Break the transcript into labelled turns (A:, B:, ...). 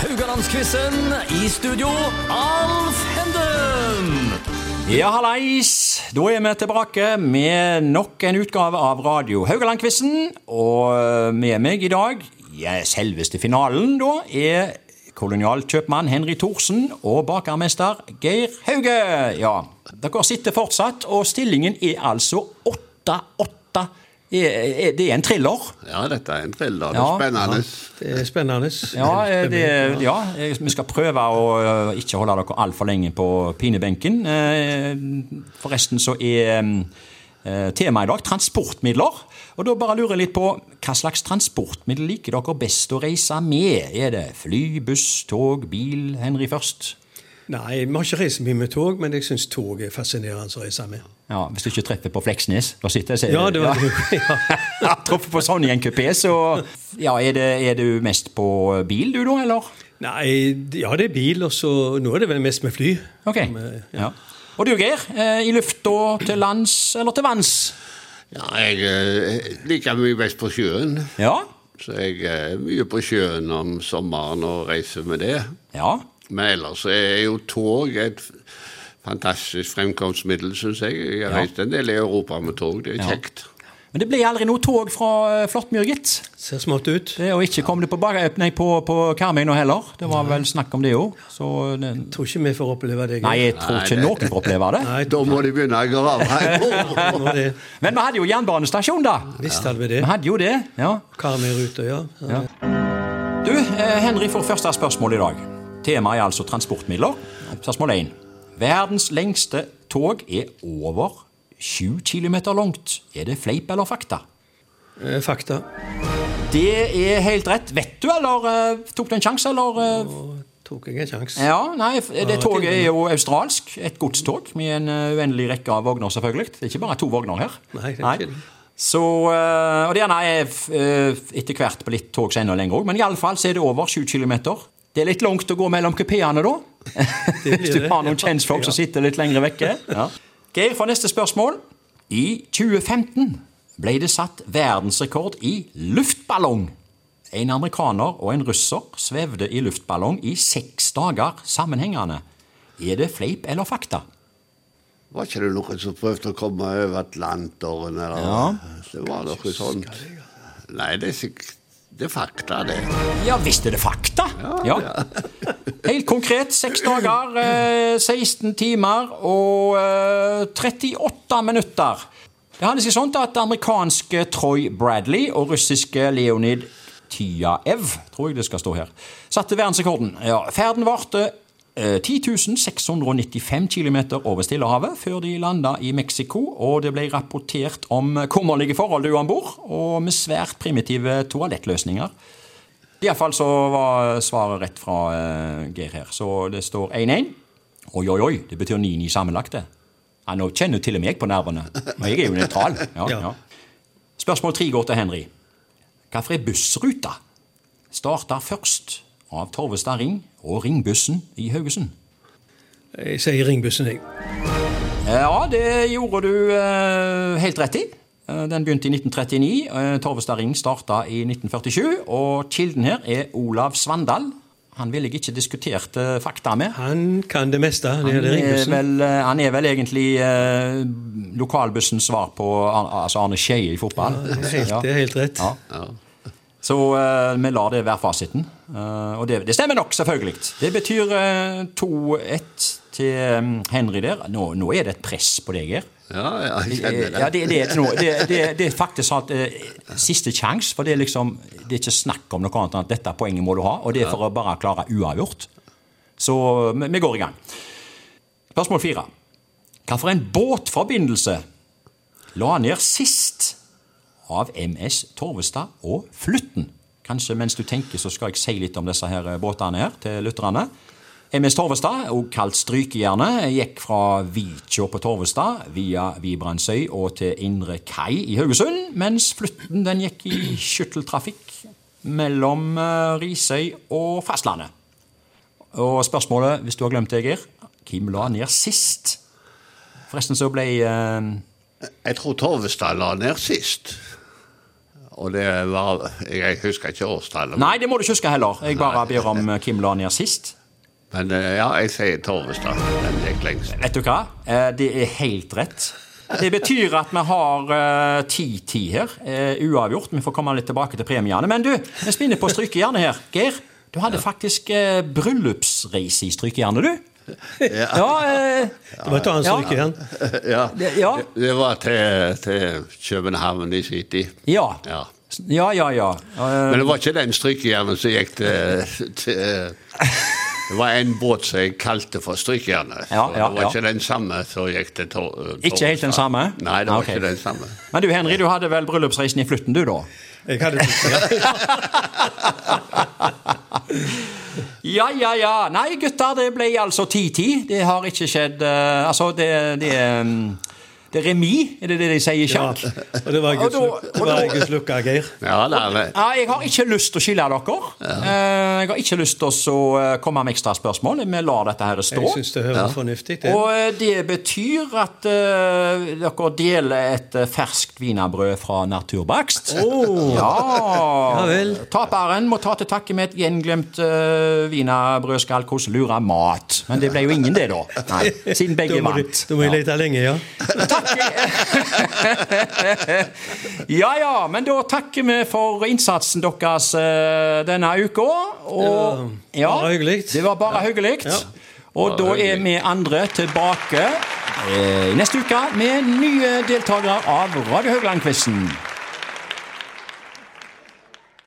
A: Haugalandsquizen. I studio, Alf Henden.
B: Ja, hallais! Da er vi tilbake med nok en utgave av Radio Haugaland-quizen. Og eh, med meg i dag, ja, selveste finalen, da, er kolonialkjøpmann Henry Thorsen og bakermester Geir Hauge. Ja, dere sitter fortsatt, og stillingen er altså 8-8. Er- er- Det er en thriller.
C: Ja, dette er en thriller. Det
B: Ja.
C: er spennende.
D: Det er Eh, spennende.
B: Ja, eh, det, ja, eh, vi skal prøve å eh, ikke holde dere altfor lenge på pinebenken. Eh, Forresten så er eh, temaet i dag transportmidler. Og da bare lurer jeg litt på hva slags transportmiddel liker dere best å reise med? Er det fly, buss, tog, bil? Henry først.
D: Nei, vi har ikke reist mye med tog, men jeg syns tog er fascinerende å reise med.
B: Ja, Hvis du ikke treffer på Fleksnes. Da sitter jeg
D: Ja, det var ja.
B: Ja, Treffer på sånn i en kupé, så ja, er, det, er du mest på bil, du da, eller?
D: Nei, ja, det er bil, og så Nå er det vel mest med fly.
B: Ok. Ja. Og du, Geir? eh, I lufta, til lands eller til vanns?
C: Ja, jeg eh, liker mye best på sjøen,
B: Ja.
C: så jeg er mye på sjøen om sommeren og reiser med det.
B: Ja.
C: Men ellers er jo tog et fantastisk fremkomstmiddel, syns jeg. Jeg har
B: Ja.
C: reist en del i Europa med tog, det er
B: Ja.
C: kjekt.
B: Men det ble aldri noe tog fra eh, Flåttmyr, gitt.
D: Ser smått ut.
B: Det- Og ikke kom det på, Bar- nei, på, på Karmøy nå heller. Det var vel snakk om det òg. Så eh, det-
D: Tror ikke vi får oppleve det. Geir.
B: Nei, jeg tror
C: Nei,
B: ikke
C: det-
B: noen får oppleve det.
D: Nei,
C: Da må de begynne å grave her.
D: det var det.
B: Men vi hadde jo jernbanestasjon, da.
D: Visst hadde vi det.
B: Vi hadde jo det. ja.
D: Karmøy-ruta, ja. ja.
B: Du, eh, Henry får første spørsmål i dag. Temaet er altså transportmidler. Spørsmål 1. Verdens lengste tog er over 7 km langt. Er det fleip eller fakta?
D: Eh, Fakta.
B: Det er helt rett. Vet du, eller eh, tok du en sjanse, eller eh,
D: Og tok jeg en sjanse.
B: Ja, nei, f- det toget er jo australsk. Et godstog med en eh, uendelig rekke av vogner, selvfølgelig. Det er ikke bare to vogner her.
D: Nei, det er ikke det.
B: Så, eh, og det ene er f- eh, etter hvert på litt tog senere lenger òg, men iallfall så er det over 7 km. Det er litt langt å gå mellom kupeene da.
D: blir
B: Hvis du
D: det.
B: har noen
D: Ja.
B: kjentfolk som sitter litt lenger vekke. Ja. Geir, for neste spørsmål. I 2015 ble det satt verdensrekord i luftballong. En amerikaner og en russer svevde i luftballong i seks dager sammenhengende. Er det fleip eller fakta?
C: Var ikke det noen som prøvde å komme over Atlanteren, eller Det var noe sånt. Nei, det er sikkert Det er fakta, det.
B: Ja visst er det fakta! Ja. Helt konkret. Seks dager, eh, 16 timer og eh, 38 minutter. Det hadde seg sånn at amerikanske Troy Bradley og russiske Leonid Tyaev, tror jeg det skal stå her, satte verdensrekorden. Ja, ferden varte eh, 10.695 km over Stillehavet før de landa i Mexico, og det ble rapportert om kummerlige forhold om bord, og med svært primitive toalettløsninger. Iallfall så var svaret rett fra eh, Geir her. Så det står 1-1. Oi, oi, oi. Det betyr 9-9 sammenlagt, det. Ja, nå kjenner jo til og med jeg på nervene. Og jeg er jo nøytral. Ja,
D: Ja.
B: ja. Spørsmål tre går til Henry. Hvilken bussrute starter først av Torvestad Ring og Ringbussen i Haugesund?
D: Jeg sier ringbussen, jeg.
B: Ja, det gjorde du eh, helt rett i. Eh, Den begynte i 1939. eh, Torvestad Ring starta i 1947. Og kilden her er Olav Svandal. Han ville jeg ikke diskutert eh, fakta med.
D: Han kan det meste. Han er
B: Han
D: det
B: er
D: ringbussen.
B: vel, eh, han er vel egentlig eh, lokalbussens svar på Ar- altså Arne Skeie i fotball.
D: Det er helt,
B: Ja.
D: det er helt rett.
B: Ja. Så eh, vi lar det være fasiten. Eh, og det, det stemmer nok, selvfølgelig. Det betyr eh, 2-1 til eh, Henry der. Nå, nå er det et press på deg her.
C: Ja, ja, jeg
B: Eh,
C: kjenner
B: Ja,
C: det.
B: det, det, er noe- det, det, det er faktisk sånn at eh, siste sjanse, for det er liksom Det er ikke snakk om noe annet enn at dette poenget må du ha, og det er for å bare klare uavgjort. Så vi vi går i gang. Spørsmål fire. Hva for en båtforbindelse la ned sist av MS Torvestad og Flytten? Kanskje mens du tenker, så skal jeg si litt om disse her eh, båtene her til lytterne. MS Torvestad, også kalt Strykejernet, gikk fra Vikjå på Torvestad via Vibrandsøy og til Indre Kai i Haugesund, mens Flytten den gikk i skytteltrafikk mellom eh, Risøy og fastlandet. Og spørsmålet, hvis du har glemt det, Geir Hvem la ned sist? Forresten så ble eh,
C: Jeg tror Torvestad la ned sist. Og det var Jeg husker ikke årstallet.
B: Nei, det må du ikke huske heller. Jeg bare ber om eh, hvem la ned sist.
C: Men eh, ja, jeg sier Torvestad. Den gikk lengst.
B: Vet du hva? Eh, Det er helt rett. Det betyr at vi har eh, 10-10 her. eh, Uavgjort. Vi får komme litt tilbake til premiene. Men du, vi spinner på strykejernet her. Geir, du hadde faktisk eh, bryllupsreise i strykejernet, du. Ja, eh,
D: Det var et annet
B: Ja.
D: stryk igjen.
C: Ja.
B: Det- ja.
C: Det- Det var til, til København i sin tid.
B: ja.
C: Ja.
B: Ja, ja, ja. Eh,
C: Men det var ikke den strykejernet som gikk til, til Det var en båt som jeg kalte for strykejernet.
B: Ja, ja,
C: Så det var
B: ja.
C: ikke den samme som gikk til Tor...
B: Ikke helt den samme?
C: Nei, det var
B: Ok.
C: ikke den samme.
B: Men du Henry, du hadde vel bryllupsreisen i flytten, du, da?
D: Jeg hadde
B: Ja, ja, ja. Nei, gutter, det ble altså 10-10. Det har ikke skjedd eh, Altså, det, det, er, mm, det er remis, er det det de sier i
D: ja.
B: sjakk?
D: Og det
B: Og
D: var
B: da-
D: gudslukka,
B: og da-
D: Guds lukka, Geir.
C: Ja, da, men,
B: Ja, jeg har ikke lyst til å skille dere. Eh, Jeg har ikke lyst til å så, eh, komme med ekstra spørsmål. Vi lar dette her stå.
D: Jeg syns det høres fornuftig ut. det.
B: Og eh, det betyr at eh, dere deler et eh, ferskt wienerbrød fra Naturbakst. Ja.
D: Ja vel.
B: Taperen må ta til takke med et gjenglemt uh, wienerbrødskall hos Lura Mat. Men det ble jo ingen det, da. Nei, siden
D: Da
B: begge
D: må du-
B: vant.
D: Da må jeg lete lenge, ja.
B: Ja ja, men da takker vi for innsatsen deres eh, denne uka. Og,
D: Ja, bare hyggelig.
B: Det var bare hyggelig. Og da er vi andre tilbake eh, neste uke med nye deltakere av Radio Haugland-quizen.